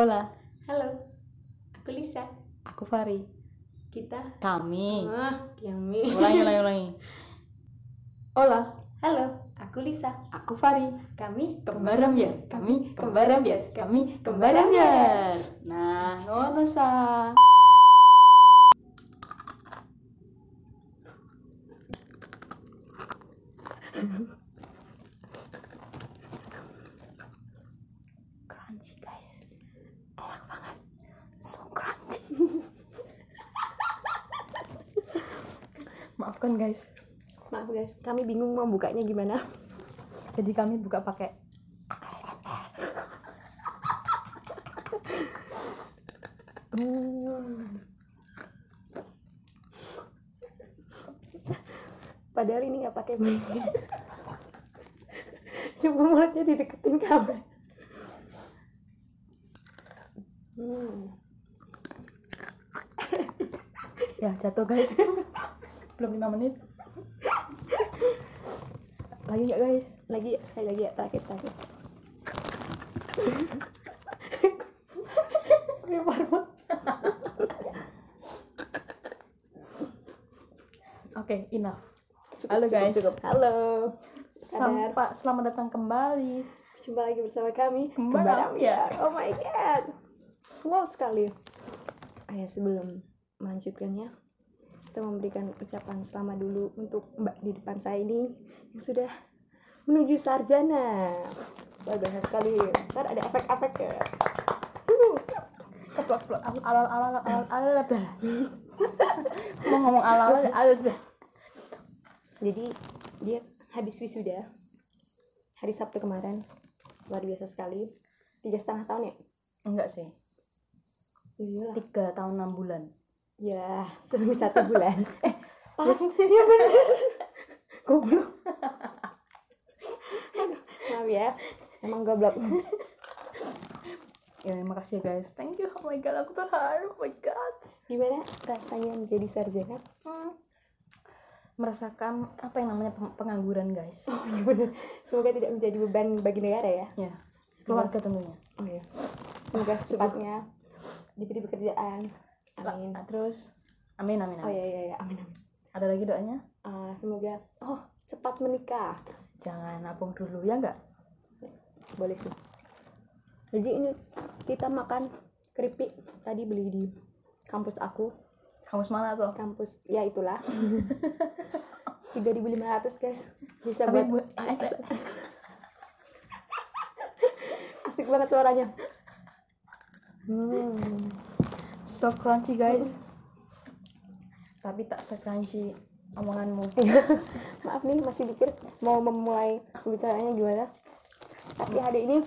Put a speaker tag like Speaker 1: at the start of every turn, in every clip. Speaker 1: Hola,
Speaker 2: Halo, aku Lisa.
Speaker 1: aku Fari.
Speaker 2: Kita.
Speaker 1: Kami.
Speaker 2: Ah, Yami.
Speaker 1: Ulangi, ulangi, ulangi. Hola,
Speaker 2: Halo, aku Lisa.
Speaker 1: aku Fari.
Speaker 2: Kami
Speaker 1: Kembaran biar, kami kembaran biar, kami kembaran biar. Nah, ngono sa. Crunchy guys, enak banget, so crunchy. Maafkan guys,
Speaker 2: Maaf guys, kami bingung mau bukanya gimana.
Speaker 1: jadi kami buka pakai
Speaker 2: Padahal ini nggak pakai mic. Cuma mulutnya dideketin kamera. Hmm.
Speaker 1: ya jatuh guys belum lima menit lagi nggak guys
Speaker 2: Lagi ya, sekali lagi ya, terakhir terakhir.
Speaker 1: oke enough halo guys
Speaker 2: Cukup. Halo. Kabar.
Speaker 1: sampai selamat datang kembali
Speaker 2: Jumpa lagi bersama kami.
Speaker 1: Kembaran
Speaker 2: ya. Oh my god. Wow sekali. Ayah sebelum melanjutkannya, kita memberikan ucapan selamat dulu untuk Mbak di depan saya ini yang sudah menuju sarjana. Luar biasa sekali. Ntar ada efek-efek ya. Wuh.
Speaker 1: keplok plok al al al al al al al blah. mau ngomong al al al al blah.
Speaker 2: Jadi dia habis wisuda hari Sabtu kemarin. Luar biasa sekali. Tiga setengah tahun ya?
Speaker 1: enggak sih
Speaker 2: Iya.
Speaker 1: tiga tahun enam bulan
Speaker 2: Ya, selama satu bulan. eh, pas. Iya bener. Goblok. Aduh, Maaf ya, emang goblok.
Speaker 1: ya makasih ya guys thank you oh my god aku terharu oh my god
Speaker 2: Gimana rasanya menjadi sarjana?
Speaker 1: Hmm. merasakan apa yang namanya peng- pengangguran guys
Speaker 2: Oh iya bener. Semoga tidak menjadi beban bagi negara ya.
Speaker 1: ya keluarga tentunya
Speaker 2: Oh iya. Semoga secepatnya diberi pekerjaan. Amin.
Speaker 1: Nah, terus amin amin
Speaker 2: Oh
Speaker 1: amin
Speaker 2: iya iya iya, amin amin.
Speaker 1: ada lagi doanya
Speaker 2: Ah, semoga oh cepat menikah.
Speaker 1: jangan nabung dulu ya enggak
Speaker 2: Boleh sih. Jadi ini kita makan keripik tadi beli di kampus aku.
Speaker 1: kamus mana tuh
Speaker 2: kampus ya itulah 3500 guys bisa
Speaker 1: Tapi
Speaker 2: buat
Speaker 1: bu- eh,
Speaker 2: asik banget suaranya hmm.
Speaker 1: so crunchy guys tapi tak se-crunchy omonganmu
Speaker 2: maaf nih masih pikir mau memulai pembicaraannya gimana tapi hari ini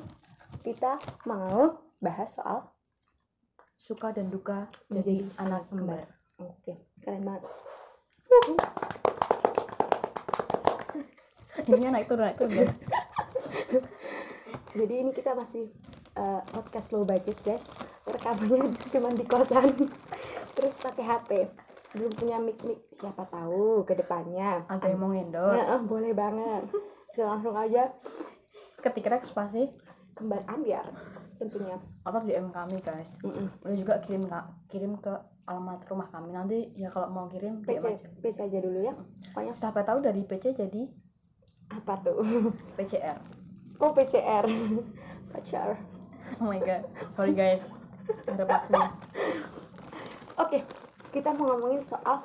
Speaker 2: kita mau bahas soal
Speaker 1: suka dan duka jadi anak kembar
Speaker 2: oke keren banget
Speaker 1: ini naik turun naik turun guys
Speaker 2: jadi ini kita masih eh, podcast low budget guys rekamannya cuma di kosan terus pakai HP belum punya mic mic siapa tahu kedepannya
Speaker 1: ada yang mau
Speaker 2: Ya,
Speaker 1: endorse
Speaker 2: eh, boleh banget. Kita langsung aja
Speaker 1: ketik rex pasti
Speaker 2: kembar ambiar tentunya.
Speaker 1: atau DM kami guys boleh juga kirim ka- kirim ke alamat rumah kami nanti ya kalau mau kirim DM
Speaker 2: PC,
Speaker 1: aja
Speaker 2: PC aja dulu ya. Pokoknya
Speaker 1: siapa tahu dari PC jadi
Speaker 2: apa tuh?
Speaker 1: PCR
Speaker 2: Oh PCR, pacar.
Speaker 1: oh my god sorry guys ada pakai
Speaker 2: Oke, kita mau ngomongin soal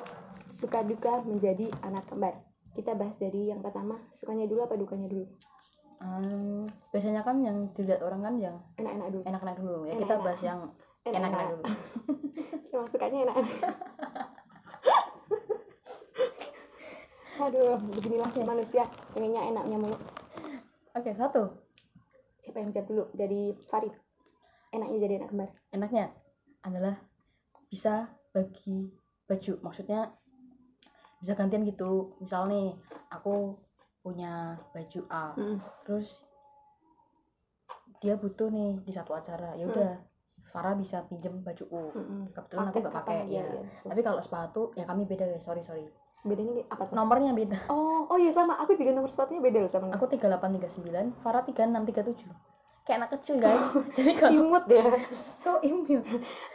Speaker 2: suka duka menjadi anak kembar. Kita bahas dari yang pertama, sukanya dulu apa dukanya dulu?
Speaker 1: Hmm, biasanya kan yang dilihat orang kan yang
Speaker 2: Enak-enak dulu.
Speaker 1: enak-enak dulu ya kita bahas yang enak-enak dulu
Speaker 2: Emang sukanya enak-enak. Aduh, beginilah manusia pengennya enaknya mulu.
Speaker 1: oke satu
Speaker 2: siapa yang jawab dulu dari Farid enaknya jadi anak kembar
Speaker 1: enaknya adalah bisa bagi baju maksudnya bisa gantian gitu misal nih aku punya baju A terus dia butuh nih di satu acara ya udah
Speaker 2: Hmm.
Speaker 1: Farah bisa pinjem baju U kebetulan aku gak
Speaker 2: Pakai Hmm. kapan,
Speaker 1: pakai
Speaker 2: iya,
Speaker 1: ya
Speaker 2: iya.
Speaker 1: tapi kalau sepatu ya kami beda guys sorry sorry
Speaker 2: bedanya di- apa tuh
Speaker 1: nomornya beda
Speaker 2: Hmm. oh oh iya sama aku juga nomor sepatunya beda loh sama
Speaker 1: Aku 3839, Farah 3637. kayak anak kecil guys jadi kalau
Speaker 2: imut ya
Speaker 1: so imut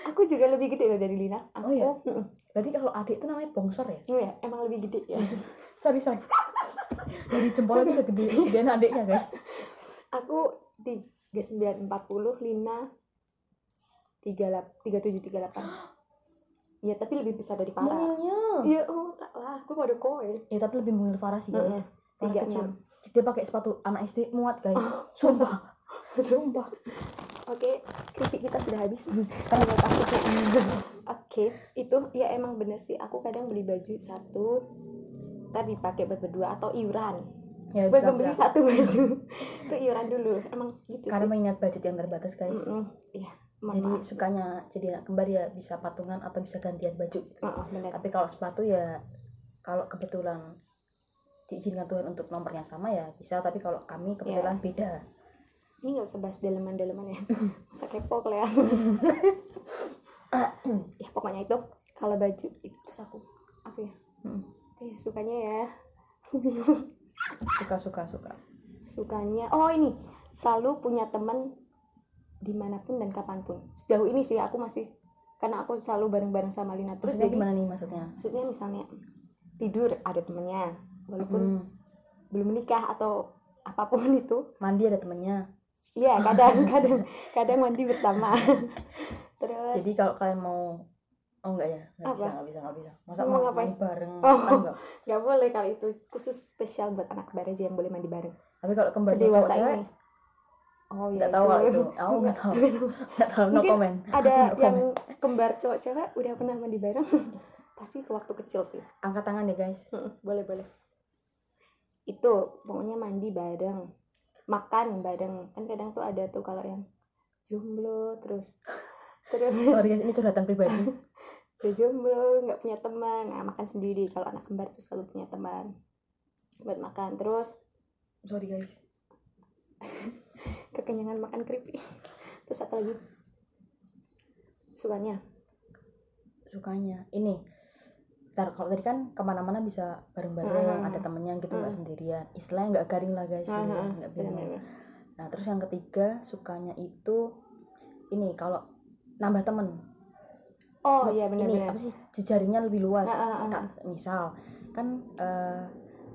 Speaker 2: aku juga lebih gede loh dari Lina aku
Speaker 1: Oh, iya?
Speaker 2: Mm-mm.
Speaker 1: berarti kalau adik itu namanya bongsor ya
Speaker 2: Iya, emang lebih gede ya
Speaker 1: sorry sorry jadi jempolnya itu gede gedean adiknya guys
Speaker 2: aku tiga sembilan empat puluh Lina tiga tiga tujuh tiga delapan Iya tapi lebih besar dari Farah
Speaker 1: mungilnya
Speaker 2: iya oh lah aku pada kowe
Speaker 1: ya tapi lebih mungil Farah sih guys
Speaker 2: Mm-mm.
Speaker 1: Farah
Speaker 2: Tiga
Speaker 1: kecil dia pakai sepatu anak SD muat guys
Speaker 2: Oh.
Speaker 1: sumpah sumpah
Speaker 2: Oke, kritik kita sudah habis. Sekarang mau aku tuh. Oke, itu ya emang bener sih. Aku kadang beli baju satu, ntar dipakai buat berdua atau iuran.
Speaker 1: ya
Speaker 2: buat
Speaker 1: bisa,
Speaker 2: membeli
Speaker 1: bisa.
Speaker 2: satu baju, itu iuran dulu. Emang gitu
Speaker 1: karena
Speaker 2: sih.
Speaker 1: mengingat budget yang terbatas guys
Speaker 2: Mm-mm. Iya, mohon
Speaker 1: jadi
Speaker 2: maaf.
Speaker 1: sukanya jadi anak kembar ya bisa patungan atau bisa gantian baju gitu.
Speaker 2: Mm-mm, bener.
Speaker 1: tapi kalau sepatu ya kalau kebetulan diizinkan Tuhan untuk nomornya sama ya bisa tapi kalau kami
Speaker 2: Ya.
Speaker 1: kebetulan beda
Speaker 2: Ini nggak usah bahas daleman-daleman ya. Masa kepo kalian. ya pokoknya itu kalau baju itu terus aku apa ya?
Speaker 1: Mm.
Speaker 2: Eh, sukanya ya.
Speaker 1: suka suka suka
Speaker 2: sukanya oh ini selalu punya teman dimanapun dan kapanpun sejauh ini sih aku masih karena aku selalu bareng-bareng sama Lina terus
Speaker 1: terus
Speaker 2: jadi
Speaker 1: gimana nih maksudnya
Speaker 2: maksudnya misalnya tidur ada temennya walaupun
Speaker 1: Hmm,
Speaker 2: belum menikah atau apapun itu
Speaker 1: mandi ada temennya
Speaker 2: iya kadang kadang kadang mandi bersama terus
Speaker 1: jadi kalau kalian mau oh enggak ya nggak
Speaker 2: Apa?
Speaker 1: bisa nggak bisa nggak bisa masa
Speaker 2: Mau
Speaker 1: mau
Speaker 2: ngapain?
Speaker 1: mandi bareng
Speaker 2: Oh.
Speaker 1: kan enggak
Speaker 2: nggak boleh kalau itu khusus spesial buat anak kembar aja yang boleh mandi bareng
Speaker 1: tapi kalau kembar
Speaker 2: sedewasa
Speaker 1: cewek
Speaker 2: ini oh iya
Speaker 1: nggak tahu kalau itu aku nggak tahu nggak tahu no
Speaker 2: Mungkin
Speaker 1: comment
Speaker 2: ada
Speaker 1: No
Speaker 2: yang
Speaker 1: comment.
Speaker 2: kembar cowok cewek udah pernah mandi bareng pasti ke waktu kecil sih
Speaker 1: angkat tangan ya guys
Speaker 2: boleh boleh itu pokoknya mandi bareng makan bareng kan kadang tuh ada tuh kalau yang jomblo terus terus
Speaker 1: sorry guys ini curhatan pribadi
Speaker 2: udah jomblo nggak punya teman nah, makan sendiri kalau anak kembar tuh selalu punya teman buat makan terus
Speaker 1: sorry guys
Speaker 2: kekenyangan makan keripik terus apa lagi sukanya
Speaker 1: sukanya ini ntar kalau tadi kan kemana-mana bisa bareng-bareng
Speaker 2: Hmm.
Speaker 1: ada temennya gitu nggak sendirian istilahnya nggak garing lah guys ya,
Speaker 2: Ah, ah,
Speaker 1: nggak bingung
Speaker 2: benar-benar.
Speaker 1: nah terus yang ketiga sukanya itu ini kalau nambah temen
Speaker 2: oh
Speaker 1: ini
Speaker 2: iya benar-benar
Speaker 1: apa sih jejaringnya lebih luas
Speaker 2: Ah, ah, ah.
Speaker 1: Ka- misal kan eh,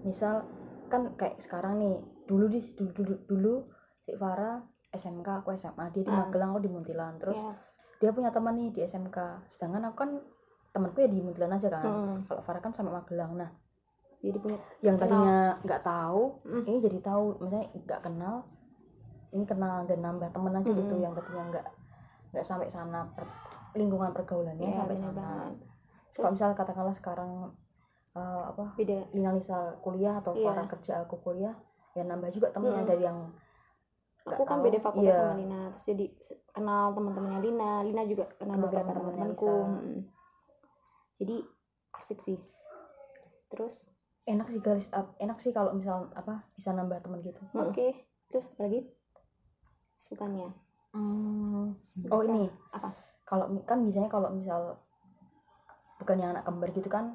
Speaker 1: misal kan kayak sekarang nih dulu di dulu dulu, dulu si Farah SMK aku SMA dia di
Speaker 2: Ah.
Speaker 1: Magelang aku di Muntilan terus
Speaker 2: Iya.
Speaker 1: dia punya teman nih di SMK sedangkan aku kan temanku ya di Muntilan aja kan
Speaker 2: Mm.
Speaker 1: kalau Farah kan sama Magelang nah
Speaker 2: jadi punya
Speaker 1: yang
Speaker 2: Kenal.
Speaker 1: tadinya nggak tahu
Speaker 2: Mm.
Speaker 1: ini jadi tahu misalnya nggak kenal ini kenal dan nambah temen aja gitu yang tadinya nggak nggak sampai sana per- lingkungan pergaulannya
Speaker 2: Iya,
Speaker 1: sampai
Speaker 2: benar
Speaker 1: sana
Speaker 2: banget.
Speaker 1: Terus kalau misal katakanlah sekarang eh, apa
Speaker 2: beda
Speaker 1: Lina Lisa kuliah atau
Speaker 2: Iya.
Speaker 1: Farah kerja aku kuliah ya nambah juga temennya
Speaker 2: Mm.
Speaker 1: dari yang nggak
Speaker 2: aku kan
Speaker 1: tahu.
Speaker 2: beda fakultas
Speaker 1: Iya.
Speaker 2: sama Lina terus jadi se- kenal teman-temannya Lina Lina juga
Speaker 1: Kenal
Speaker 2: kenal beberapa
Speaker 1: teman-temannya
Speaker 2: teman-temanku
Speaker 1: Lisa.
Speaker 2: Mm. jadi asik sih terus
Speaker 1: enak sih garis up enak sih kalau misal apa bisa nambah temen gitu
Speaker 2: oke terus apa lagi sukanya
Speaker 1: Hmm. oh ini
Speaker 2: apa
Speaker 1: kalau mi- kan biasanya kalau misal bukan yang anak kembar gitu kan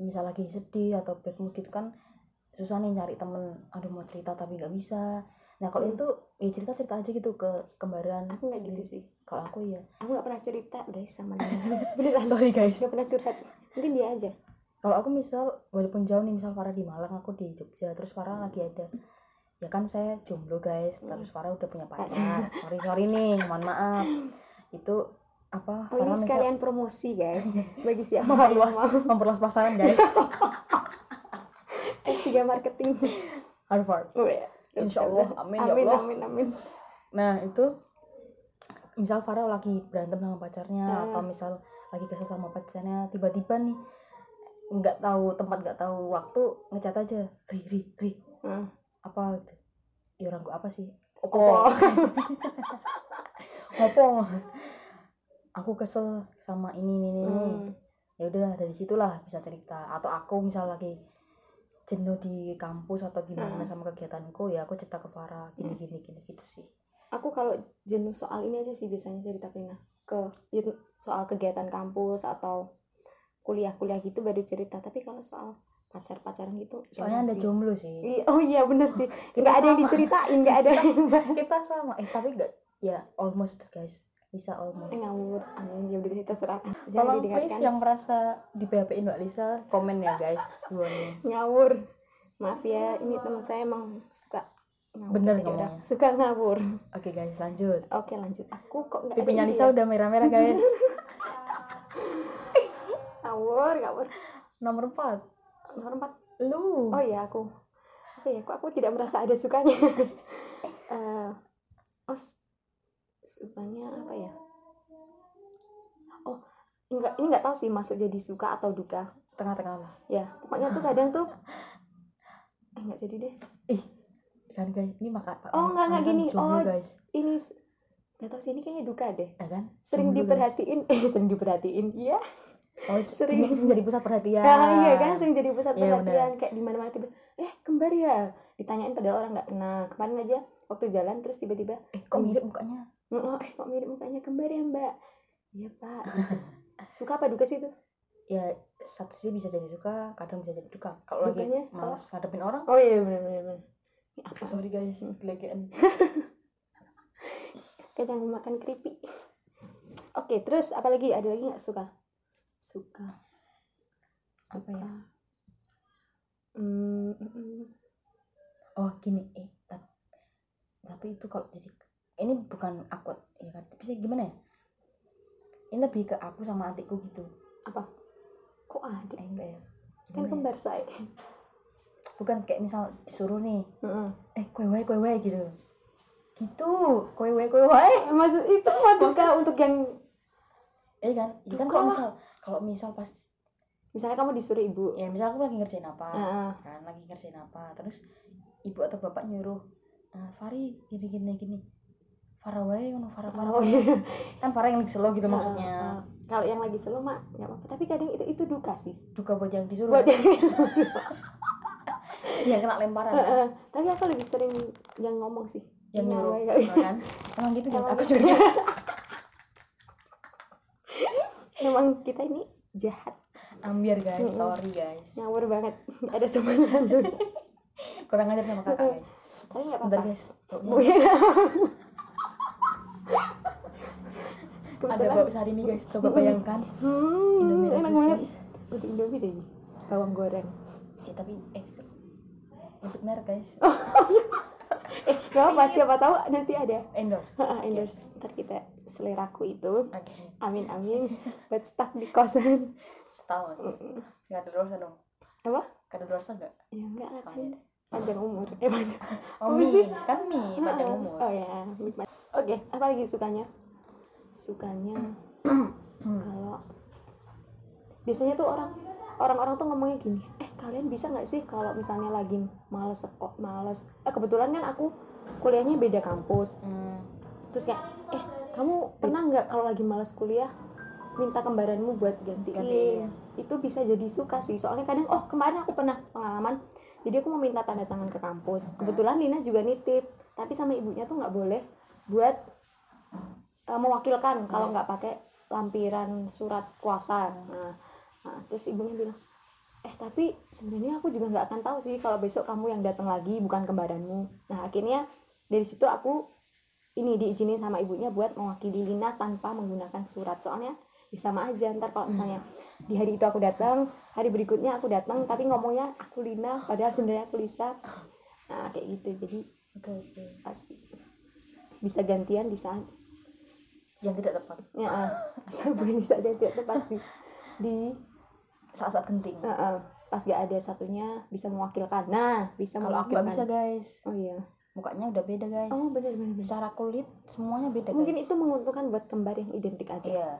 Speaker 1: misal lagi sedih atau bad mood gitu kan susah nih nyari temen aduh mau cerita tapi nggak bisa nah kalau
Speaker 2: Hmm.
Speaker 1: itu ya cerita cerita aja gitu ke kembaran
Speaker 2: aku nggak gitu
Speaker 1: sendiri.
Speaker 2: sih
Speaker 1: kalau aku ya
Speaker 2: aku nggak pernah cerita guys sama Lina beneran
Speaker 1: sorry guys
Speaker 2: nggak pernah curhat mungkin dia aja
Speaker 1: kalau aku misal walaupun jauh nih misal Farah di Malang aku di Jogja terus Farah lagi ada ya kan saya jomblo guys
Speaker 2: Hmm.
Speaker 1: terus Farah udah punya pacar sorry sorry nih mohon maaf itu apa
Speaker 2: oh ini
Speaker 1: misal-
Speaker 2: sekalian promosi guys bagi siapa yang
Speaker 1: memperluas
Speaker 2: mau
Speaker 1: memperluas pasaran guys
Speaker 2: S3 Eh, marketing
Speaker 1: Harvard Insya Allah. Oh, ya. Amin, ya
Speaker 2: amin
Speaker 1: Allah.
Speaker 2: amin amin
Speaker 1: Nah itu misal Farel lagi berantem sama pacarnya
Speaker 2: Hmm.
Speaker 1: atau misal lagi kesel sama pacarnya tiba-tiba nih nggak tahu tempat nggak tahu waktu ngecat aja ri ri ri
Speaker 2: Hmm.
Speaker 1: apa gitu ya orang gua apa sih
Speaker 2: Oh.
Speaker 1: opo aku kesel sama ini ini ini, ini.
Speaker 2: Hmm.
Speaker 1: ya udahlah dari situlah bisa cerita atau aku misal lagi jenuh di kampus atau gimana sama kegiatanku ya aku cerita ke Farah gini gini gini gitu sih
Speaker 2: aku kalau jenuh soal ini aja sih biasanya cerita ke Lina. ke ya yaitu soal kegiatan kampus atau kuliah-kuliah gitu baru cerita tapi kalau soal pacar-pacaran gitu
Speaker 1: soalnya anda
Speaker 2: ada
Speaker 1: jomblo sih
Speaker 2: oh iya bener sih nggak ada yang
Speaker 1: sama.
Speaker 2: diceritain nggak ada yang bahas.
Speaker 1: kita sama eh tapi enggak ya almost guys Lisa
Speaker 2: Eh,
Speaker 1: almost
Speaker 2: ngawur amin ya udah terserah jangan
Speaker 1: tolong please
Speaker 2: didengarkan
Speaker 1: yang merasa di php Mbak Lisa komen ya guys Buangnya.
Speaker 2: ngawur maaf ya ini teman saya emang suka ngawur
Speaker 1: Bener
Speaker 2: Jadi udah,
Speaker 1: ngomongnya.
Speaker 2: suka ngawur
Speaker 1: oke guys lanjut
Speaker 2: oke lanjut aku kok nggak ada
Speaker 1: pipinya
Speaker 2: ide
Speaker 1: Lisa
Speaker 2: ya?
Speaker 1: udah merah-merah guys
Speaker 2: ngawur ngawur
Speaker 1: nomor 4
Speaker 2: nomor empat
Speaker 1: lu
Speaker 2: oh iya aku apa ya kok aku tidak merasa ada sukanya Eh, oh s- sukanya apa ya oh enggak ini nggak tahu sih masuk jadi suka atau duka
Speaker 1: tengah-tengah lah
Speaker 2: ya pokoknya tuh kadang tuh eh nggak jadi deh
Speaker 1: ih kan guys ini maka
Speaker 2: Oh, enggak, enggak,
Speaker 1: alasan
Speaker 2: gini.
Speaker 1: jomblo,
Speaker 2: Oh.
Speaker 1: guys
Speaker 2: ini s- nggak tahu sih ini kayaknya duka deh
Speaker 1: ya kan
Speaker 2: sering
Speaker 1: Jomblo, guys.
Speaker 2: diperhatiin eh sering diperhatiin iya
Speaker 1: oh,
Speaker 2: sering.
Speaker 1: sering jadi pusat perhatian
Speaker 2: Nah, iya kan sering jadi pusat
Speaker 1: Iya,
Speaker 2: perhatian kayak di mana-mana tiba eh kembar ya ditanyain padahal orang nggak kenal kemarin aja waktu jalan terus tiba-tiba
Speaker 1: eh kok mirip mukanya
Speaker 2: "Oh, eh kok mirip mukanya kembar ya mbak iya pak gitu. suka apa duka sih itu
Speaker 1: ya satu sih bisa jadi suka kadang bisa jadi duka kalau lagi
Speaker 2: Dukanya, kalau-
Speaker 1: malas ngadepin orang
Speaker 2: oh iya benar benar benar Ini apa
Speaker 1: sorry guys kelegean
Speaker 2: kayak yang makan keripik oke terus apa lagi ada lagi nggak suka suka
Speaker 1: Apa ya?
Speaker 2: Hmm, hmm, hmm.
Speaker 1: oh gini eh tapi, tapi itu kalau jadi ini bukan aku ya kan tapi sih gimana ya ini lebih ke aku sama adikku gitu
Speaker 2: apa kok ada
Speaker 1: eh enggak ya
Speaker 2: kan
Speaker 1: Gimana ya?
Speaker 2: kembar saya
Speaker 1: bukan kayak misal disuruh nih
Speaker 2: Mm-mm.
Speaker 1: eh kue wae kue wae gitu gitu kue wae kue wae
Speaker 2: maksud itu mah duka untuk yang
Speaker 1: eh kan itu kan
Speaker 2: Duka
Speaker 1: kalau
Speaker 2: lah.
Speaker 1: misal kalau misal pas
Speaker 2: misalnya kamu disuruh ibu
Speaker 1: ya misal aku lagi ngerjain apa
Speaker 2: Heeh.
Speaker 1: kan lagi ngerjain apa terus ibu atau bapak nyuruh "Eh, Fari gini gini gini Farah wae ngono Farah Farah
Speaker 2: Oh,
Speaker 1: wae."
Speaker 2: iya.
Speaker 1: kan Farah yang slow gitu
Speaker 2: Nah,
Speaker 1: maksudnya
Speaker 2: nah. kalau yang lagi slow mah nggak apa-apa tapi kadang itu itu duka sih
Speaker 1: duka buat yang disuruh
Speaker 2: buat
Speaker 1: kan?
Speaker 2: yang slow.
Speaker 1: yang kena lemparan kan?
Speaker 2: Heeh. tapi aku lebih sering yang ngomong sih
Speaker 1: yang
Speaker 2: Nah,
Speaker 1: nyuruh
Speaker 2: kayak-
Speaker 1: nah, kan emang gitu gitu
Speaker 2: Emang
Speaker 1: aku
Speaker 2: gitu.
Speaker 1: juga
Speaker 2: emang kita ini jahat
Speaker 1: ambiar guys
Speaker 2: Mm-mm.
Speaker 1: sorry guys
Speaker 2: ngawur banget ada sopan santun
Speaker 1: kurang ajar sama kakak guys
Speaker 2: tapi nggak
Speaker 1: bentar
Speaker 2: apa-apa Iya.
Speaker 1: guys baunya-
Speaker 2: Mungkin-
Speaker 1: ada
Speaker 2: Kebetulan-
Speaker 1: bau sari mie guys coba bayangkan
Speaker 2: hmm,
Speaker 1: Indomie
Speaker 2: enak
Speaker 1: rebus
Speaker 2: banget
Speaker 1: guys
Speaker 2: untuk Indomie deh ini. bawang goreng
Speaker 1: ya tapi eh untuk merek guys
Speaker 2: Oh. eh nggak apa
Speaker 1: Iya.
Speaker 2: siapa tahu nanti ada
Speaker 1: endorse
Speaker 2: Heeh, Ah, endorse ntar kita seleraku itu
Speaker 1: oke
Speaker 2: amin amin buat stuck di kosan
Speaker 1: setahun nggak ada dosa dong
Speaker 2: apa
Speaker 1: nggak ada dosa Kan nggak
Speaker 2: ya enggak lah kan
Speaker 1: Oh, iya.
Speaker 2: panjang umur eh panjang
Speaker 1: Oh,
Speaker 2: Apa
Speaker 1: mie.
Speaker 2: sih?
Speaker 1: Kan mie, panjang
Speaker 2: Ah,
Speaker 1: umur.
Speaker 2: oh ya mie pan- oke apa lagi sukanya sukanya kalau biasanya tuh orang orang-orang tuh ngomongnya gini eh kalian bisa nggak sih kalau misalnya lagi males sekok males eh kebetulan kan aku kuliahnya beda kampus
Speaker 1: Hmm,
Speaker 2: terus kayak eh kamu pernah nggak kalau lagi malas kuliah minta kembaranmu buat gantiin
Speaker 1: Gantiin.
Speaker 2: itu bisa jadi suka sih soalnya kadang oh kemarin aku pernah pengalaman jadi aku mau minta tanda tangan ke kampus kebetulan Nina juga nitip tapi sama ibunya tuh nggak boleh buat eh, mewakilkan kalau nggak pakai lampiran surat kuasa nah, nah, terus ibunya bilang eh tapi sebenarnya aku juga nggak akan tahu sih kalau besok kamu yang datang lagi bukan kembaranmu nah akhirnya dari situ aku ini diizinin sama ibunya buat mewakili Lina tanpa menggunakan surat soalnya ya sama aja ntar kalau misalnya di hari itu aku datang hari berikutnya aku datang tapi ngomongnya aku Lina padahal sebenarnya aku Lisa nah kayak gitu jadi
Speaker 1: oke oke.
Speaker 2: pasti bisa gantian di saat
Speaker 1: Yang tidak tepat
Speaker 2: ya ah. Saya bukan bisa gantian tuh pasti di
Speaker 1: saat-saat penting.
Speaker 2: eh, eh, pas gak ada satunya bisa mewakilkan nah bisa
Speaker 1: Kalau aku
Speaker 2: mewakilkan
Speaker 1: nggak bisa guys,
Speaker 2: oh iya
Speaker 1: mukanya udah beda guys.
Speaker 2: oh benar benar bisa
Speaker 1: Secara kulit semuanya beda
Speaker 2: mungkin
Speaker 1: guys.
Speaker 2: itu menguntungkan buat kembar yang identik aja
Speaker 1: Iya.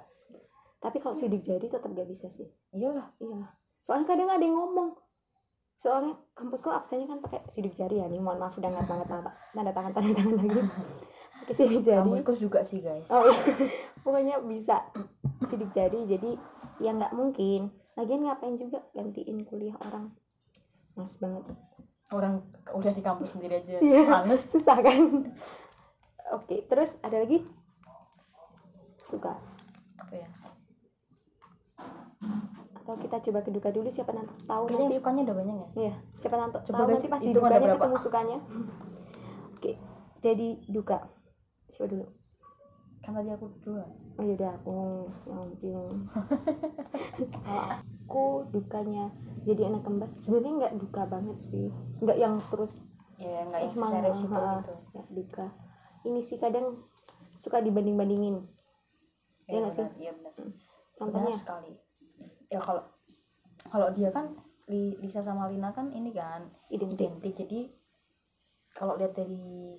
Speaker 2: tapi kalau sidik jari tetap gak bisa sih
Speaker 1: Iyalah.
Speaker 2: Iya. Soalnya kadang ada yang ngomong. Soalnya kampusku absennya kan pakai sidik jari ya nih. Mohon maaf udah nggak tanda tangan tanda tangan tanda tangan lagi. Pakai sidik jari.
Speaker 1: Kampusku juga sih guys.
Speaker 2: Oh iya. Pokoknya bisa sidik jari. Jadi ya nggak mungkin. Lagian ngapain juga gantiin kuliah orang. Mas banget.
Speaker 1: Orang udah di kampus sendiri aja.
Speaker 2: Iya.
Speaker 1: Males.
Speaker 2: Susah kan? Oke, terus ada lagi? Suka
Speaker 1: Apa ya?
Speaker 2: atau Kalau kita coba ke duka dulu siapa nanti tahu
Speaker 1: Kayaknya yang
Speaker 2: nanti
Speaker 1: sukanya udah banyak ya?
Speaker 2: Iya, siapa nanti
Speaker 1: Coba
Speaker 2: tahu
Speaker 1: guys,
Speaker 2: nanti pasti
Speaker 1: hitung ada
Speaker 2: dukanya
Speaker 1: berapa.
Speaker 2: ketemu sukanya. Oke, jadi duka. Siapa dulu?
Speaker 1: Kan tadi aku dua.
Speaker 2: Oh yaudah aku yang bingung. Kalau aku dukanya jadi anak kembar sebenarnya nggak duka banget sih, nggak yang terus
Speaker 1: Ya nggak yang
Speaker 2: emang,
Speaker 1: serius itu
Speaker 2: ah,
Speaker 1: gitu.
Speaker 2: nggak duka. Ini sih kadang suka dibanding bandingin. Iya nggak sih?
Speaker 1: benar, Iya benar.
Speaker 2: Contohnya
Speaker 1: Benar sekali. Ya kalau kalau dia kan Li- Lisa sama Lina kan ini kan
Speaker 2: identik.
Speaker 1: identik. Jadi kalau lihat dari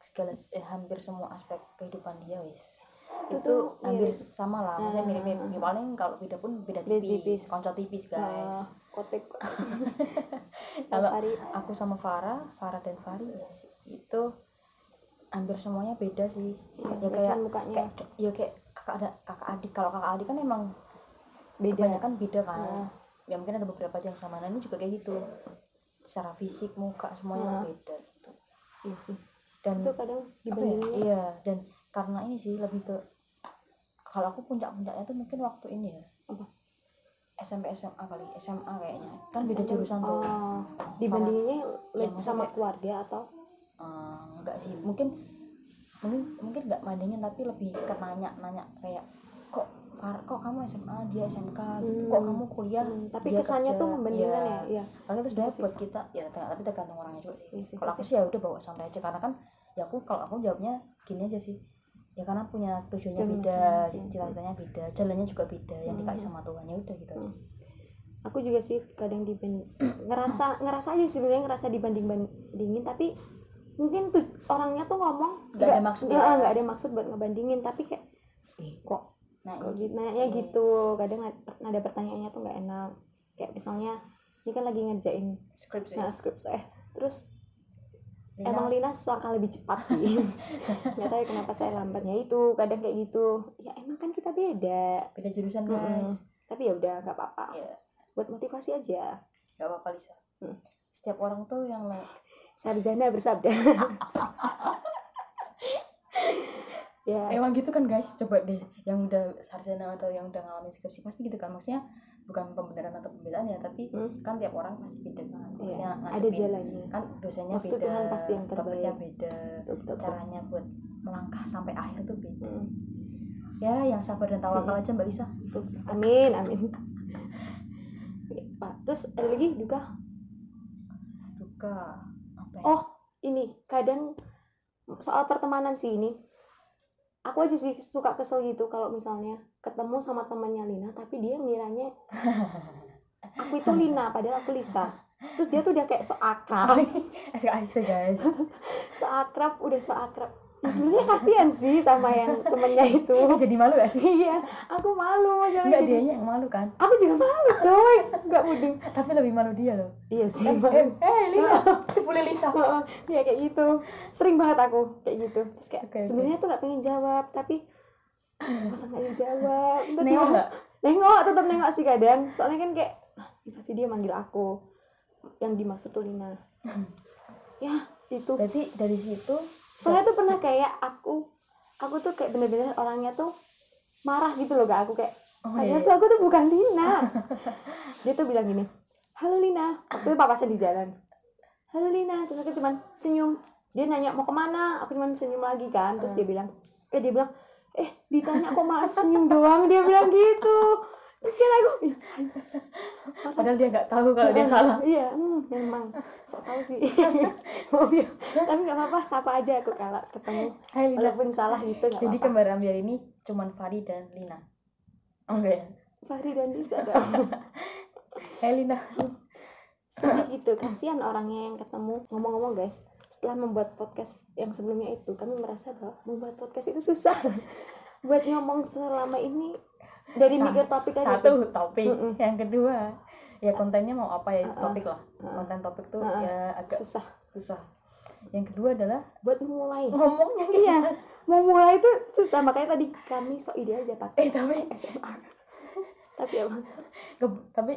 Speaker 1: segala eh, hampir semua aspek kehidupan dia wis
Speaker 2: Itu
Speaker 1: itu,
Speaker 2: tuh iya.
Speaker 1: hampir
Speaker 2: mirip.
Speaker 1: sama lah maksudnya mirip-mirip Ya, paling kalau beda pun beda
Speaker 2: Beda
Speaker 1: tipis,
Speaker 2: tipis.
Speaker 1: konco tipis
Speaker 2: Ah,
Speaker 1: guys
Speaker 2: kotek.
Speaker 1: kalau
Speaker 2: Fahri.
Speaker 1: aku sama Farah Farah dan Fari ya sih itu hampir semuanya beda sih
Speaker 2: Iya,
Speaker 1: ya kayak
Speaker 2: kelihatan mukanya.
Speaker 1: kayak ya kayak kakak ada kakak adik kalau kakak adik kan emang
Speaker 2: Beda. Oh.
Speaker 1: kebanyakan beda kan
Speaker 2: Heeh.
Speaker 1: ya mungkin ada beberapa yang sama nah ini juga kayak gitu secara fisik muka semuanya beda gitu.
Speaker 2: Iya sih.
Speaker 1: dan
Speaker 2: Oh. Itu kadang
Speaker 1: Hmm. apa ya,
Speaker 2: dibandingin.
Speaker 1: iya dan karena ini sih lebih ke kalau aku puncak-puncaknya tuh mungkin waktu ini ya
Speaker 2: Apa?
Speaker 1: SMP SMA kali SMA kayaknya kan beda jurusan tuh
Speaker 2: Oh, dibandinginnya
Speaker 1: Ya,
Speaker 2: le- sama keluarga atau
Speaker 1: Eh, enggak sih mungkin mungkin mungkin nggak mandingin tapi lebih ke nanya nanya kayak kok Far- kok kamu SMA dia SMK gitu kok kamu kuliah
Speaker 2: Hmm, tapi
Speaker 1: dia
Speaker 2: kesannya
Speaker 1: kerja?"
Speaker 2: tuh membandingkan
Speaker 1: Iya.
Speaker 2: ya, iya.
Speaker 1: Padahal itu sebenarnya buat kita ya ter- tapi tergantung orangnya juga sih.
Speaker 2: Iya sih,
Speaker 1: kalau aku sih ya udah bawa santai aja karena kan ya aku kalau aku jawabnya gini aja sih. Ya karena punya tujuannya
Speaker 2: Jangan
Speaker 1: beda,
Speaker 2: masing-masing. Hmm.
Speaker 1: cita-citanya beda, jalannya juga beda yang dikasih sama Tuhan ya udah gitu aja.
Speaker 2: aku juga sih kadang diban ngerasa ngerasa aja sebenarnya ngerasa dibanding bandingin tapi mungkin tuh orangnya tuh ngomong
Speaker 1: Nggak ada maksud
Speaker 2: nggak
Speaker 1: ya.
Speaker 2: nggak ada maksud buat ngebandingin tapi kayak eh kok
Speaker 1: Nah,
Speaker 2: kok
Speaker 1: ini
Speaker 2: gitu nanyanya gitu kadang ad- ada pertanyaannya tuh nggak enak kayak misalnya ini kan lagi ngerjain
Speaker 1: skrip sih.
Speaker 2: nah, skrip eh terus
Speaker 1: Lina,
Speaker 2: Emang Lina selangkah lebih cepat sih. Gak tahu ya kenapa saya lambatnya itu. Kadang kayak gitu. Ya emang kan kita beda.
Speaker 1: beda jurusan
Speaker 2: Mm-mm.
Speaker 1: guys.
Speaker 2: Tapi ya udah nggak apa-apa.
Speaker 1: Ya,
Speaker 2: Buat motivasi aja.
Speaker 1: nggak apa-apa Lisa.
Speaker 2: Hmm.
Speaker 1: Setiap orang tuh yang lain
Speaker 2: Sarjana bersabda. ya.
Speaker 1: emang gitu kan guys coba deh yang udah sarjana atau yang udah ngalamin skripsi pasti gitu kan maksudnya bukan pembenaran atau pembelaan ya tapi
Speaker 2: Hmm.
Speaker 1: kan tiap orang pasti beda kan
Speaker 2: Iya,
Speaker 1: maksudnya
Speaker 2: ada
Speaker 1: ngadepin-
Speaker 2: jalannya.
Speaker 1: kan dosennya
Speaker 2: Waktu
Speaker 1: beda
Speaker 2: Tuhan pasti yang terbaik.
Speaker 1: topiknya beda
Speaker 2: Betul, betul, betul.
Speaker 1: caranya buat melangkah sampai akhir tuh beda
Speaker 2: Mm.
Speaker 1: ya yang sabar dan tawakal
Speaker 2: Iya.
Speaker 1: aja mbak Lisa
Speaker 2: Tuh. Amin, amin. Oke, Pak. Terus ada lagi juga.
Speaker 1: duka apa ya?
Speaker 2: Oh, ini kadang soal pertemanan sih ini. Aku aja sih suka kesel gitu kalau misalnya ketemu sama temannya Lina tapi dia ngiranya aku itu Lina padahal aku Lisa. Terus dia tuh udah kayak so akrab,
Speaker 1: SKS tuh ya? guys
Speaker 2: so akrab, udah so akrab. Ya, Sebenarnya kasihan sih sama yang temennya itu.
Speaker 1: Aku jadi malu gak sih
Speaker 2: iya, aku malu jangan
Speaker 1: Enggak
Speaker 2: jadi.
Speaker 1: dia yang malu kan
Speaker 2: Aku juga malu, coy. Enggak mudeng.
Speaker 1: tapi lebih malu dia loh
Speaker 2: Iya sih.
Speaker 1: eh eh, Lina
Speaker 2: Ah.
Speaker 1: cepulin Lisa
Speaker 2: Heeh, ya kayak gitu sering banget aku kayak gitu terus kayak
Speaker 1: Oke, oke.
Speaker 2: sebenarnya tuh nggak pengen jawab tapi masa nggak pengen jawab Ntar
Speaker 1: Nengok
Speaker 2: dia-
Speaker 1: nggak?
Speaker 2: nengok tetap nengok sih kadang soalnya kan kayak "Ah, ini pasti dia manggil aku yang dimaksud tuh Lina
Speaker 1: Hmm.
Speaker 2: ya itu
Speaker 1: berarti dari situ
Speaker 2: soalnya tuh pernah kayak aku aku tuh kayak bener-bener orangnya tuh marah gitu loh gak aku kayak
Speaker 1: Oh,
Speaker 2: padahal
Speaker 1: iya.
Speaker 2: tuh aku tuh bukan Lina dia tuh bilang gini halo Lina waktu itu papasan di jalan halo Lina terus aku cuman senyum dia nanya mau kemana aku cuman senyum lagi kan terus
Speaker 1: Hmm.
Speaker 2: dia bilang eh dia bilang eh ditanya kok malah senyum doang dia bilang gitu terus kan aku "Ih,
Speaker 1: padahal dia nggak tahu kalau dia salah
Speaker 2: iya hmm, memang sok tahu sih Maaf ya. tapi nggak apa-apa sapa aja aku kalau ketemu
Speaker 1: Hai, Lina.
Speaker 2: walaupun salah gitu nggak
Speaker 1: Iya. Jadi
Speaker 2: apa-apa
Speaker 1: kembar ambiar ini cuman Fari dan Lina. Oh, Enggak ya?
Speaker 2: Fahri dan Lisa dong
Speaker 1: Hai Lina.
Speaker 2: sedih gitu kasihan orangnya yang ketemu ngomong-ngomong guys setelah membuat podcast yang sebelumnya itu kami merasa bahwa membuat podcast itu susah buat ngomong selama ini dari mikir topik aja sih
Speaker 1: Satu topik. Yang kedua ya kontennya mau apa ya topik lah. Konten topik tuh ya agak
Speaker 2: susah
Speaker 1: susah. Yang kedua adalah
Speaker 2: buat mulai
Speaker 1: ngomongnya
Speaker 2: iya mau mulai itu susah makanya tadi kami sok ide aja pakai
Speaker 1: Eh tapi
Speaker 2: SMA tapi ya, emang
Speaker 1: ke- tapi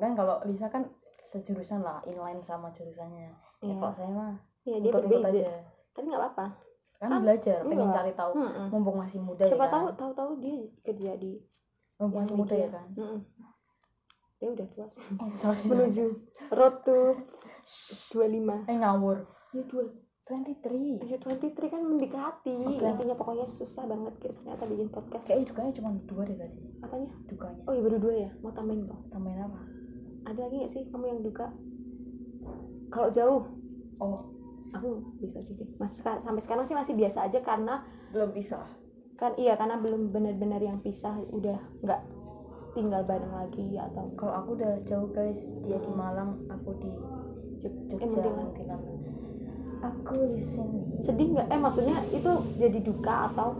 Speaker 1: kan kalau Lisa kan sejurusan lah inline sama jurusannya. Ya
Speaker 2: Iya.
Speaker 1: kalau saya mah
Speaker 2: ya dia
Speaker 1: ikut-ikut
Speaker 2: berbeza
Speaker 1: aja.
Speaker 2: tapi nggak apa-apa
Speaker 1: Kan,
Speaker 2: Kan,
Speaker 1: belajar, pengen
Speaker 2: iya.
Speaker 1: cari tahu.
Speaker 2: Mm-mm.
Speaker 1: Mumpung masih muda
Speaker 2: siapa
Speaker 1: ya.
Speaker 2: tahu
Speaker 1: Kan?
Speaker 2: tahu-tahu dia kerja di
Speaker 1: Mumpung
Speaker 2: yang
Speaker 1: masih muda
Speaker 2: media.
Speaker 1: ya kan.
Speaker 2: Mm-mm. dia udah tua sih
Speaker 1: eh sorry
Speaker 2: menuju road to 25
Speaker 1: eh ngawur
Speaker 2: ya dua
Speaker 1: 23
Speaker 2: ya 23 kan mendekati
Speaker 1: Oke.
Speaker 2: intinya pokoknya susah banget guys ternyata bikin podcast
Speaker 1: kayaknya dukanya cuma dua deh tadi
Speaker 2: apanya
Speaker 1: dukanya
Speaker 2: oh iya baru dua ya mau tambahin bang
Speaker 1: tambahin apa
Speaker 2: ada lagi gak sih kamu yang duka kalau jauh
Speaker 1: oh
Speaker 2: aku bisa sih sih mas seka- sampai sekarang sih masih biasa aja karena
Speaker 1: belum bisa
Speaker 2: kan iya karena belum benar-benar yang pisah udah nggak tinggal bareng lagi atau
Speaker 1: kalau aku udah jauh guys dia di Malang aku di
Speaker 2: Jog- eh,
Speaker 1: Jogja
Speaker 2: mendingan.
Speaker 1: Nantilang. aku di sini
Speaker 2: sedih nggak eh maksudnya itu jadi duka atau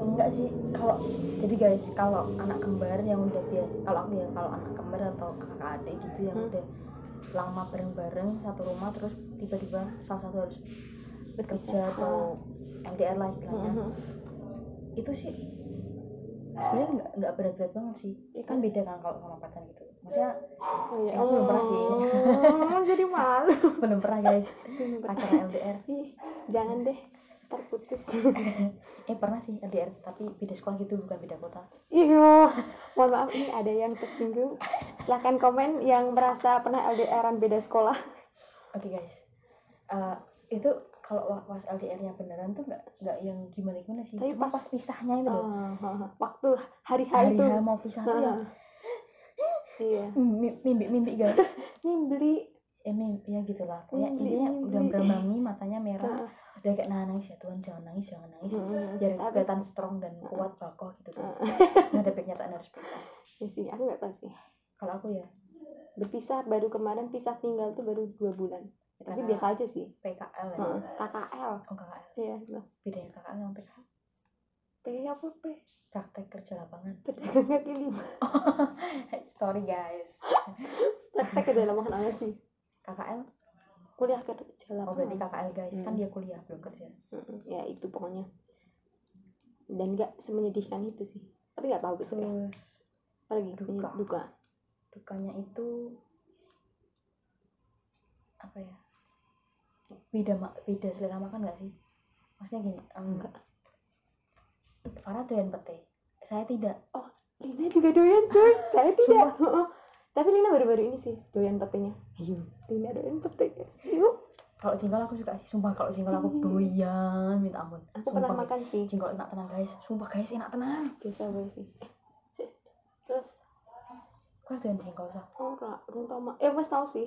Speaker 1: enggak sih kalau jadi guys kalau anak kembar yang udah biar kalau aku ya kalau anak kembar atau kakak adik gitu yang udah lama bareng-bareng satu rumah terus tiba-tiba salah satu harus bekerja atau MDR lah istilahnya itu sih sebenarnya nggak nggak berat-berat banget sih
Speaker 2: Iya
Speaker 1: kan beda kan kalau sama pacar gitu maksudnya
Speaker 2: oh, iya.
Speaker 1: Eh, aku belum pernah sih.
Speaker 2: Hmm, jadi malu
Speaker 1: belum pernah guys pacaran LDR
Speaker 2: Ih, jangan deh terputus
Speaker 1: eh pernah sih LDR tapi beda sekolah gitu bukan beda kota
Speaker 2: iya mohon maaf ini ada yang tersinggung silahkan komen yang merasa pernah LDRan beda sekolah
Speaker 1: Oke guys, Eh, itu kalau wa- pas LDR-nya beneran tuh nggak nggak yang gimana gimana sih.
Speaker 2: Tapi
Speaker 1: Cuma
Speaker 2: pas-
Speaker 1: pisahnya itu loh.
Speaker 2: Ah, waktu hari H
Speaker 1: Oh. Hari
Speaker 2: itu
Speaker 1: H mau pisah tuh ya Hmm,
Speaker 2: Ah. iya
Speaker 1: mimpi-mimpi guys.
Speaker 2: nih beli
Speaker 1: ya mimpi ya gitulah. Pokoknya
Speaker 2: Mimpi,
Speaker 1: intinya
Speaker 2: mimpi. Ah,
Speaker 1: udah berambangi matanya merah. Udah kayak nahan nangis ya Tuhan jangan nangis jangan nangis.
Speaker 2: Hmm.
Speaker 1: Biar kelihatan strong dan
Speaker 2: Ah,
Speaker 1: kuat bakoh gitu guys. Ngadepin kenyataan harus pisah.
Speaker 2: ya sih aku nggak tahu sih
Speaker 1: Kalau aku ya
Speaker 2: berpisah baru kemarin pisah tinggal tuh baru dua bulan Ya, tapi
Speaker 1: Karena-
Speaker 2: biasa Ah, aja sih
Speaker 1: PKL ya.
Speaker 2: Heeh, KKL
Speaker 1: Oh KKL.
Speaker 2: iya nah
Speaker 1: Bedanya KKL sama PKL.
Speaker 2: pengen apa teh
Speaker 1: Praktek kerja lapangan.
Speaker 2: pedagang kaki lima
Speaker 1: Sorry guys.
Speaker 2: praktek ke dalam lapangan apa sih
Speaker 1: KKL.
Speaker 2: kuliah kerja
Speaker 1: Oh berarti KKL
Speaker 2: lapangan
Speaker 1: guys kan dia kuliah belum kerja.
Speaker 2: Mm-mm, ya itu pokoknya dan nggak semenyedihkan itu sih tapi nggak tahu besok ya
Speaker 1: terus
Speaker 2: apalagi
Speaker 1: Duka.
Speaker 2: duka, duka.
Speaker 1: dukanya itu apa ya beda ma- beda selera makan gak sih maksudnya gini enggak Farah doyan pete saya tidak
Speaker 2: oh Lina juga doyan coy saya tidak
Speaker 1: Sumpah.
Speaker 2: Heeh. tapi Lina baru-baru ini sih doyan petenya Iya. Lina doyan pete guys yuk
Speaker 1: kalau jengkol aku suka sih sumpah kalau jengkol aku doyan minta ampun
Speaker 2: aku
Speaker 1: sumpah
Speaker 2: pernah
Speaker 1: guys.
Speaker 2: makan sih
Speaker 1: jengkol enak tenang guys sumpah guys enak tenang
Speaker 2: biasa gue sih Eh, Sis, terus
Speaker 1: kau doyan jengkol sah
Speaker 2: ora belum tau ma- eh wes tau sih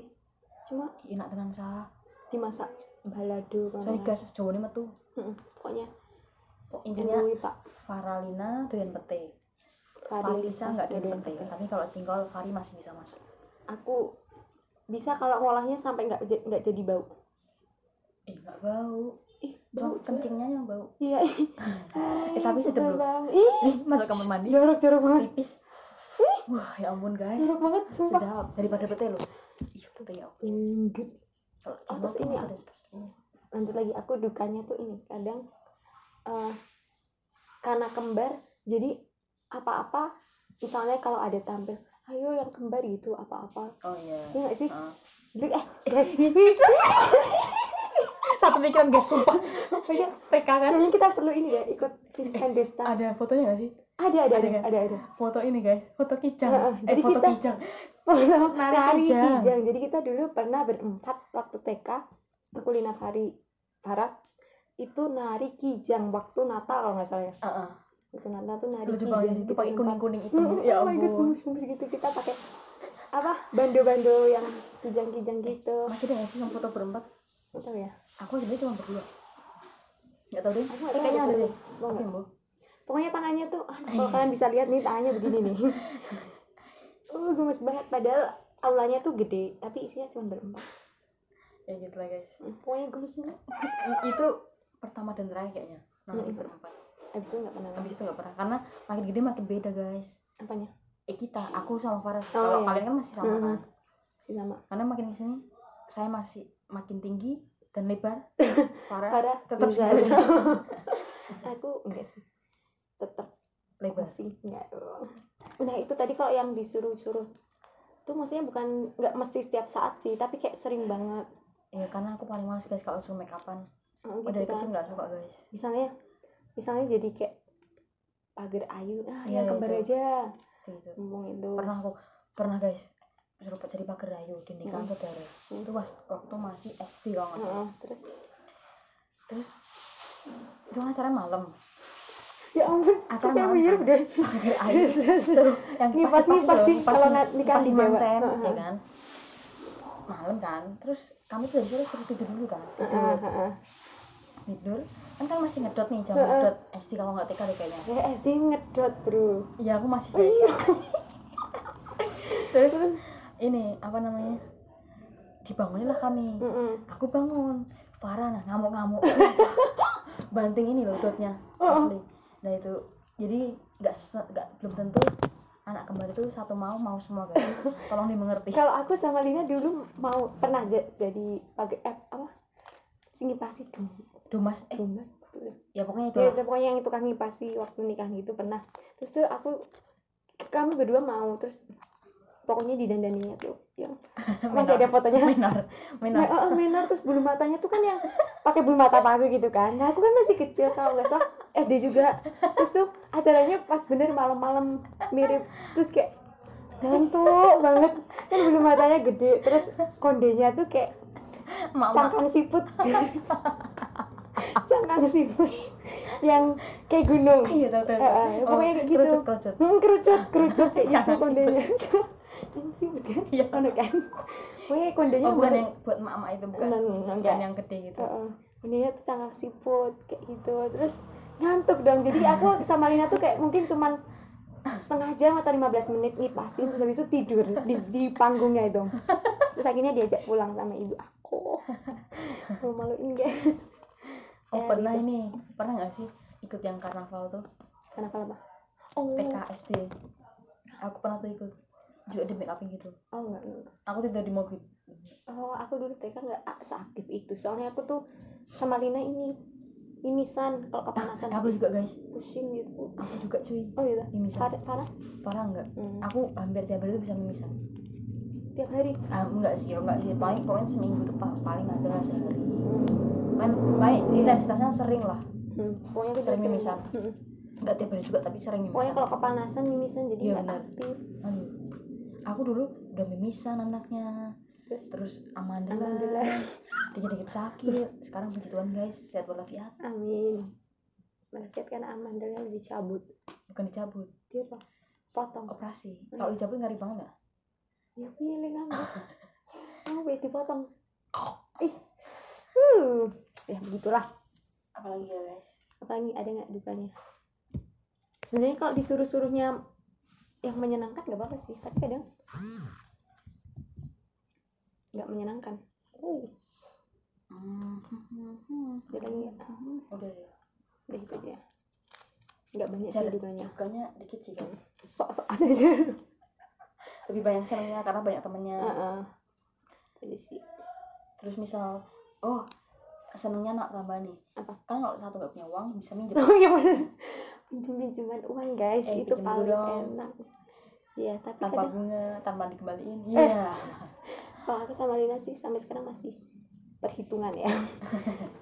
Speaker 2: cuma
Speaker 1: enak tenang sah
Speaker 2: dimasak balado kan
Speaker 1: sorry guys jawa ini metu
Speaker 2: Mm-mm, pokoknya
Speaker 1: Pok- intinya
Speaker 2: ini tak
Speaker 1: Faralina doyan pete Farlisa nggak doyan pete tapi kalau jengkol Fari masih bisa masuk
Speaker 2: aku bisa kalau ngolahnya sampai nggak j- nggak jadi bau
Speaker 1: eh nggak bau
Speaker 2: ih
Speaker 1: Cuma
Speaker 2: bau
Speaker 1: kencingnya yang bau.
Speaker 2: iya ih.
Speaker 1: Eh, tapi
Speaker 2: Ih,
Speaker 1: sedep
Speaker 2: sebel
Speaker 1: loh.
Speaker 2: banget. ih
Speaker 1: Ih, Eh, masuk kamar mandi.
Speaker 2: jorok jorok banget
Speaker 1: Pipis. Wah, ya ampun guys.
Speaker 2: jorok banget sumpah
Speaker 1: Sedap daripada pete loh. Iya, pete ya. ampun.
Speaker 2: Inggit.
Speaker 1: Kalau
Speaker 2: Oh, terus
Speaker 1: jengkol
Speaker 2: ini
Speaker 1: tuh
Speaker 2: ya?
Speaker 1: pedes, pedes.
Speaker 2: lanjut lagi aku dukanya tuh ini kadang eh, karena kembar jadi apa-apa misalnya kalau ada tampil ayo yang kembar gitu apa-apa
Speaker 1: Oh iya.
Speaker 2: Iya nggak sih?
Speaker 1: Ah.
Speaker 2: beli eh guys
Speaker 1: Satu pikiran guys, sumpah.
Speaker 2: kayaknya
Speaker 1: PK kan.
Speaker 2: kayaknya kita perlu ini ya ikut Vincent Desta
Speaker 1: Ada fotonya gak sih?
Speaker 2: ada ada ada
Speaker 1: kan?
Speaker 2: ada ada
Speaker 1: Foto ini guys, foto kijang.
Speaker 2: Heeh,
Speaker 1: eh,
Speaker 2: jadi
Speaker 1: foto
Speaker 2: kita-
Speaker 1: kijang. Nari
Speaker 2: Fari
Speaker 1: Kijang.
Speaker 2: Kijang jadi kita dulu pernah berempat waktu TK aku Lina Fari Farah itu nari kijang waktu Natal kalau nggak salah ya
Speaker 1: Heeh.
Speaker 2: waktu Natal tuh nari
Speaker 1: Lucu
Speaker 2: kijang
Speaker 1: banget itu
Speaker 2: kita
Speaker 1: pakai
Speaker 2: empat.
Speaker 1: kuning-kuning itu.
Speaker 2: Hmm,
Speaker 1: Ya
Speaker 2: oh my god,
Speaker 1: ampun.
Speaker 2: gemes-gemes gitu kita pakai apa bando-bando yang kijang-kijang gitu
Speaker 1: Masih ada gak sih yang foto berempat?
Speaker 2: Gak tahu ya
Speaker 1: Aku sebenarnya cuma berdua. Gak tau deh.
Speaker 2: Aku nggak
Speaker 1: Eh,
Speaker 2: tahu
Speaker 1: kayaknya ada
Speaker 2: itu.
Speaker 1: deh.
Speaker 2: Mau
Speaker 1: Tapi
Speaker 2: nggak?
Speaker 1: mau.
Speaker 2: pokoknya tangannya tuh aduh, kalau kalian bisa lihat nih tangannya begini nih oh gemes banget padahal aulanya tuh gede tapi isinya cuma berempat
Speaker 1: Ya gitu lah guys.
Speaker 2: Hmm, pokoknya gemes banget
Speaker 1: I- itu pertama dan terakhir kayaknya
Speaker 2: Iya,
Speaker 1: nanti berempat
Speaker 2: abis itu nggak pernah lagi
Speaker 1: habis itu nggak pernah karena makin gede makin beda guys
Speaker 2: apanya
Speaker 1: eh kita aku sama Farah sih.
Speaker 2: Oh,
Speaker 1: kalau
Speaker 2: iya.
Speaker 1: kalian kan masih sama kan
Speaker 2: si sama
Speaker 1: karena makin kesini saya masih makin tinggi dan lebar Farah,
Speaker 2: Farah
Speaker 1: tetap
Speaker 2: bisa
Speaker 1: segini.
Speaker 2: aja. aku enggak sih tetap
Speaker 1: lebar
Speaker 2: masih enggak nah itu tadi kalau yang disuruh-suruh tuh maksudnya bukan nggak mesti setiap saat sih tapi kayak sering banget
Speaker 1: ya karena aku paling males guys kalau suruh make upan
Speaker 2: Oh,
Speaker 1: udah dari
Speaker 2: gitu kan.
Speaker 1: kecil nggak suka guys
Speaker 2: misalnya misalnya jadi kayak pagar ayu ah
Speaker 1: Iya,
Speaker 2: yang kembar
Speaker 1: itu.
Speaker 2: aja
Speaker 1: Kayak gitu
Speaker 2: ngomong itu
Speaker 1: pernah aku pernah guys suruh cari pakai rayu dindingkan saudara itu pas waktu masih SD kalau nggak salah
Speaker 2: Heeh, terus
Speaker 1: terus itu kan acara malam
Speaker 2: ya ampun
Speaker 1: acara
Speaker 2: kayak
Speaker 1: malam
Speaker 2: mirip deh
Speaker 1: pakai air suruh yang
Speaker 2: Ngipas- ngipas sih, kalau na- nikah di Jawa.
Speaker 1: manten
Speaker 2: Heeh.
Speaker 1: ya kan malam kan terus kami tuh dari sore suruh tidur dulu kan tidur
Speaker 2: Heeh, heeh.
Speaker 1: tidur kan kan masih ngedot nih jam
Speaker 2: Heeh.
Speaker 1: ngedot SD kalau nggak TK deh kayaknya
Speaker 2: ya SD ngedot bro
Speaker 1: iya aku masih
Speaker 2: Oh,
Speaker 1: guys terus ini apa namanya dibanguninlah kami
Speaker 2: Mm-mm.
Speaker 1: aku bangun Farah nah ngamuk-ngamuk sumpah. banting ini loh dotnya asli nah itu jadi nggak se- nggak belum tentu anak kembar itu satu mau mau semua guys tolong dimengerti
Speaker 2: kalau aku sama Lina dulu mau pernah ja- jadi pakai app apa singipasi dong
Speaker 1: domas eh
Speaker 2: domba
Speaker 1: ya pokoknya itu
Speaker 2: ya, itu pokoknya yang tukang ngipasi waktu nikah gitu pernah terus tuh aku kami berdua mau terus pokoknya didandaninya tuh yang masih ada fotonya
Speaker 1: minor minor
Speaker 2: Ma- oh, oh, minor terus bulu matanya tuh kan yang pakai bulu mata palsu gitu kan nah aku kan masih kecil kalau nggak salah SD juga terus tuh acaranya pas bener malam-malam mirip terus kayak ngantuk banget kan bulu matanya gede terus kondenya tuh kayak
Speaker 1: mama
Speaker 2: cangkang siput cangkang siput yang kayak gunung
Speaker 1: Iya, tahu, tahu, tahu.
Speaker 2: Eh, eh, pokoknya
Speaker 1: Oh,
Speaker 2: kayak gitu
Speaker 1: kerucut, kerucut.
Speaker 2: Hmm, kerucut kerucut kayak gitu
Speaker 1: Cangkang siput.
Speaker 2: kondenya cangkang siput kan
Speaker 1: Iya.
Speaker 2: Ono kan pokoknya kondenya
Speaker 1: oh, bukan
Speaker 2: Iya, bener-
Speaker 1: yang buat mama itu bukan
Speaker 2: Enggak, enggak, enggak.
Speaker 1: bukan yang gede gitu
Speaker 2: Heeh. Bundanya tuh sangat siput kayak gitu terus ngantuk dong jadi aku sama Lina tuh kayak mungkin cuman setengah jam atau 15 menit ngipasin terus habis itu tidur di, di panggungnya itu terus akhirnya diajak pulang sama ibu aku maluin guys
Speaker 1: oh
Speaker 2: Iya,
Speaker 1: pernah
Speaker 2: gitu.
Speaker 1: ini pernah nggak sih ikut yang karnaval tuh
Speaker 2: kenapa apa oh
Speaker 1: PKSD aku pernah tuh ikut juga di make upin gitu
Speaker 2: oh enggak, enggak.
Speaker 1: aku tidur di mobil
Speaker 2: oh aku dulu TK nggak a- seaktif itu soalnya aku tuh sama Lina ini mimisan kalau kepanasan
Speaker 1: aku juga guys
Speaker 2: pusing gitu
Speaker 1: aku juga cuy
Speaker 2: oh iya
Speaker 1: Mimisan.
Speaker 2: parah parah
Speaker 1: parah nggak
Speaker 2: Hmm.
Speaker 1: aku hampir tiap hari tuh bisa mimisan
Speaker 2: tiap hari
Speaker 1: ah enggak sih ya enggak sih paling pokoknya seminggu tuh pa- paling ada sehari
Speaker 2: Hmm.
Speaker 1: kan baik intensitasnya sering lah
Speaker 2: Hmm, pokoknya aku
Speaker 1: Sering
Speaker 2: sering Hmm.
Speaker 1: mimisan.
Speaker 2: Mm-mm.
Speaker 1: enggak tiap hari juga tapi sering
Speaker 2: Pokoknya
Speaker 1: mimisan
Speaker 2: kalau kepanasan mimisan jadi
Speaker 1: Iya,
Speaker 2: nggak
Speaker 1: benar.
Speaker 2: aktif.
Speaker 1: Aduh. aku dulu udah mimisan anaknya
Speaker 2: Terus
Speaker 1: terus amandelan
Speaker 2: Amandelan.
Speaker 1: dikit-dikit sakit sekarang puji Tuhan guys sehat walafiat
Speaker 2: amin. Malafiat kan aman dari yang dicabut.
Speaker 1: bukan dicabut
Speaker 2: Dia apa? Potong.
Speaker 1: operasi kalau dicabut ngeri banget nggak?
Speaker 2: Ya pilih kamu. Kamu boleh dipotong. Ih. Uh. Ya begitulah.
Speaker 1: apalagi ya guys
Speaker 2: Apalagi ada nggak dukanya? Sebenarnya kalau disuruh-suruhnya yang menyenangkan nggak apa-apa sih, tapi kadang nggak menyenangkan. Uh, ada lagi nggak?
Speaker 1: udah sih
Speaker 2: Hmm, udah gitu aja nggak banyak sih
Speaker 1: Cara
Speaker 2: dukanya
Speaker 1: dukanya dikit sih guys
Speaker 2: sok-sokan aja
Speaker 1: lebih banyak senangnya karena banyak temennya
Speaker 2: Heeh. Tadi sih
Speaker 1: terus misal oh senangnya nak tambah nih
Speaker 2: Apa?
Speaker 1: kan kalau satu nggak punya uang bisa minjem
Speaker 2: oh iya bener pinjam pinjaman uang guys
Speaker 1: Eh,
Speaker 2: itu
Speaker 1: pinjem
Speaker 2: paling
Speaker 1: dulu dong.
Speaker 2: enak ya tapi
Speaker 1: tanpa
Speaker 2: kadang
Speaker 1: bunga tanpa dikembaliin
Speaker 2: Eh.
Speaker 1: iya
Speaker 2: kalau aku sama Lina sih sampai sekarang masih perhitungan ya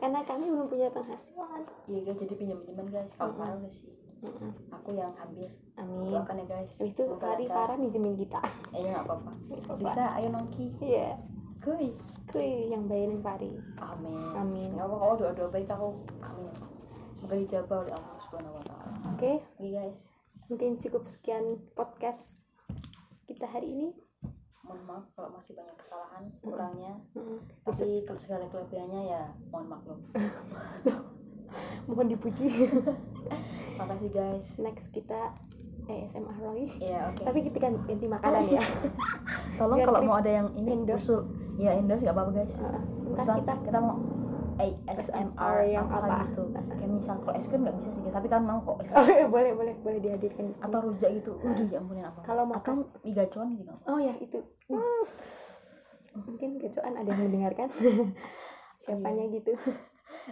Speaker 2: karena kami belum punya penghasilan
Speaker 1: iya guys jadi pinjam pinjaman guys kalau Farah udah sih
Speaker 2: Heeh.
Speaker 1: aku yang hampir
Speaker 2: amin
Speaker 1: doakan ya guys
Speaker 2: habis Mm. itu
Speaker 1: Semoga
Speaker 2: Fari
Speaker 1: lancar.
Speaker 2: Farah minjemin kita
Speaker 1: Eh, iya nggak apa-apa
Speaker 2: apa-apa.
Speaker 1: bisa ayo nongki
Speaker 2: iya
Speaker 1: kuy
Speaker 2: kuy yang bayarin Fari
Speaker 1: amin
Speaker 2: Amin.
Speaker 1: nggak apa kalau doa doa baik aku amin semoga dijabah oleh Allah subhanahu wa taala
Speaker 2: oke
Speaker 1: oke guys
Speaker 2: mungkin cukup sekian podcast kita hari ini
Speaker 1: mohon maaf kalau masih banyak kesalahan kurangnya
Speaker 2: Heeh.
Speaker 1: tapi kalau segala kelebihannya ya mohon maklum
Speaker 2: mohon dipuji
Speaker 1: makasih guys
Speaker 2: next kita eh, ASMR lagi
Speaker 1: ya oke
Speaker 2: tapi kita ganti, ganti
Speaker 1: Oh,
Speaker 2: makanan
Speaker 1: iya.
Speaker 2: ya
Speaker 1: tolong
Speaker 2: biar
Speaker 1: kalau
Speaker 2: klip
Speaker 1: mau ada yang ini
Speaker 2: endorse.
Speaker 1: usul ya endorse nggak apa-apa guys
Speaker 2: Heeh.
Speaker 1: usulan
Speaker 2: ntar kita
Speaker 1: Kan kita kita mau ASMR
Speaker 2: yang
Speaker 1: yang
Speaker 2: apa?
Speaker 1: apa gitu kayak misal kalau es krim nggak bisa sih guys, tapi kan mau kok es
Speaker 2: oh, iya, boleh boleh boleh dihadirkan di sini
Speaker 1: atau rujak gitu waduh ya ampun apa
Speaker 2: Kalau mau
Speaker 1: atau migacon gitu
Speaker 2: oh ya itu Hmm. mungkin kecoan ada yang mendengarkan siapanya gitu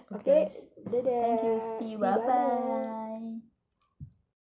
Speaker 2: oke
Speaker 1: Iya. guys.
Speaker 2: dadah
Speaker 1: eh, thank you see you bye bye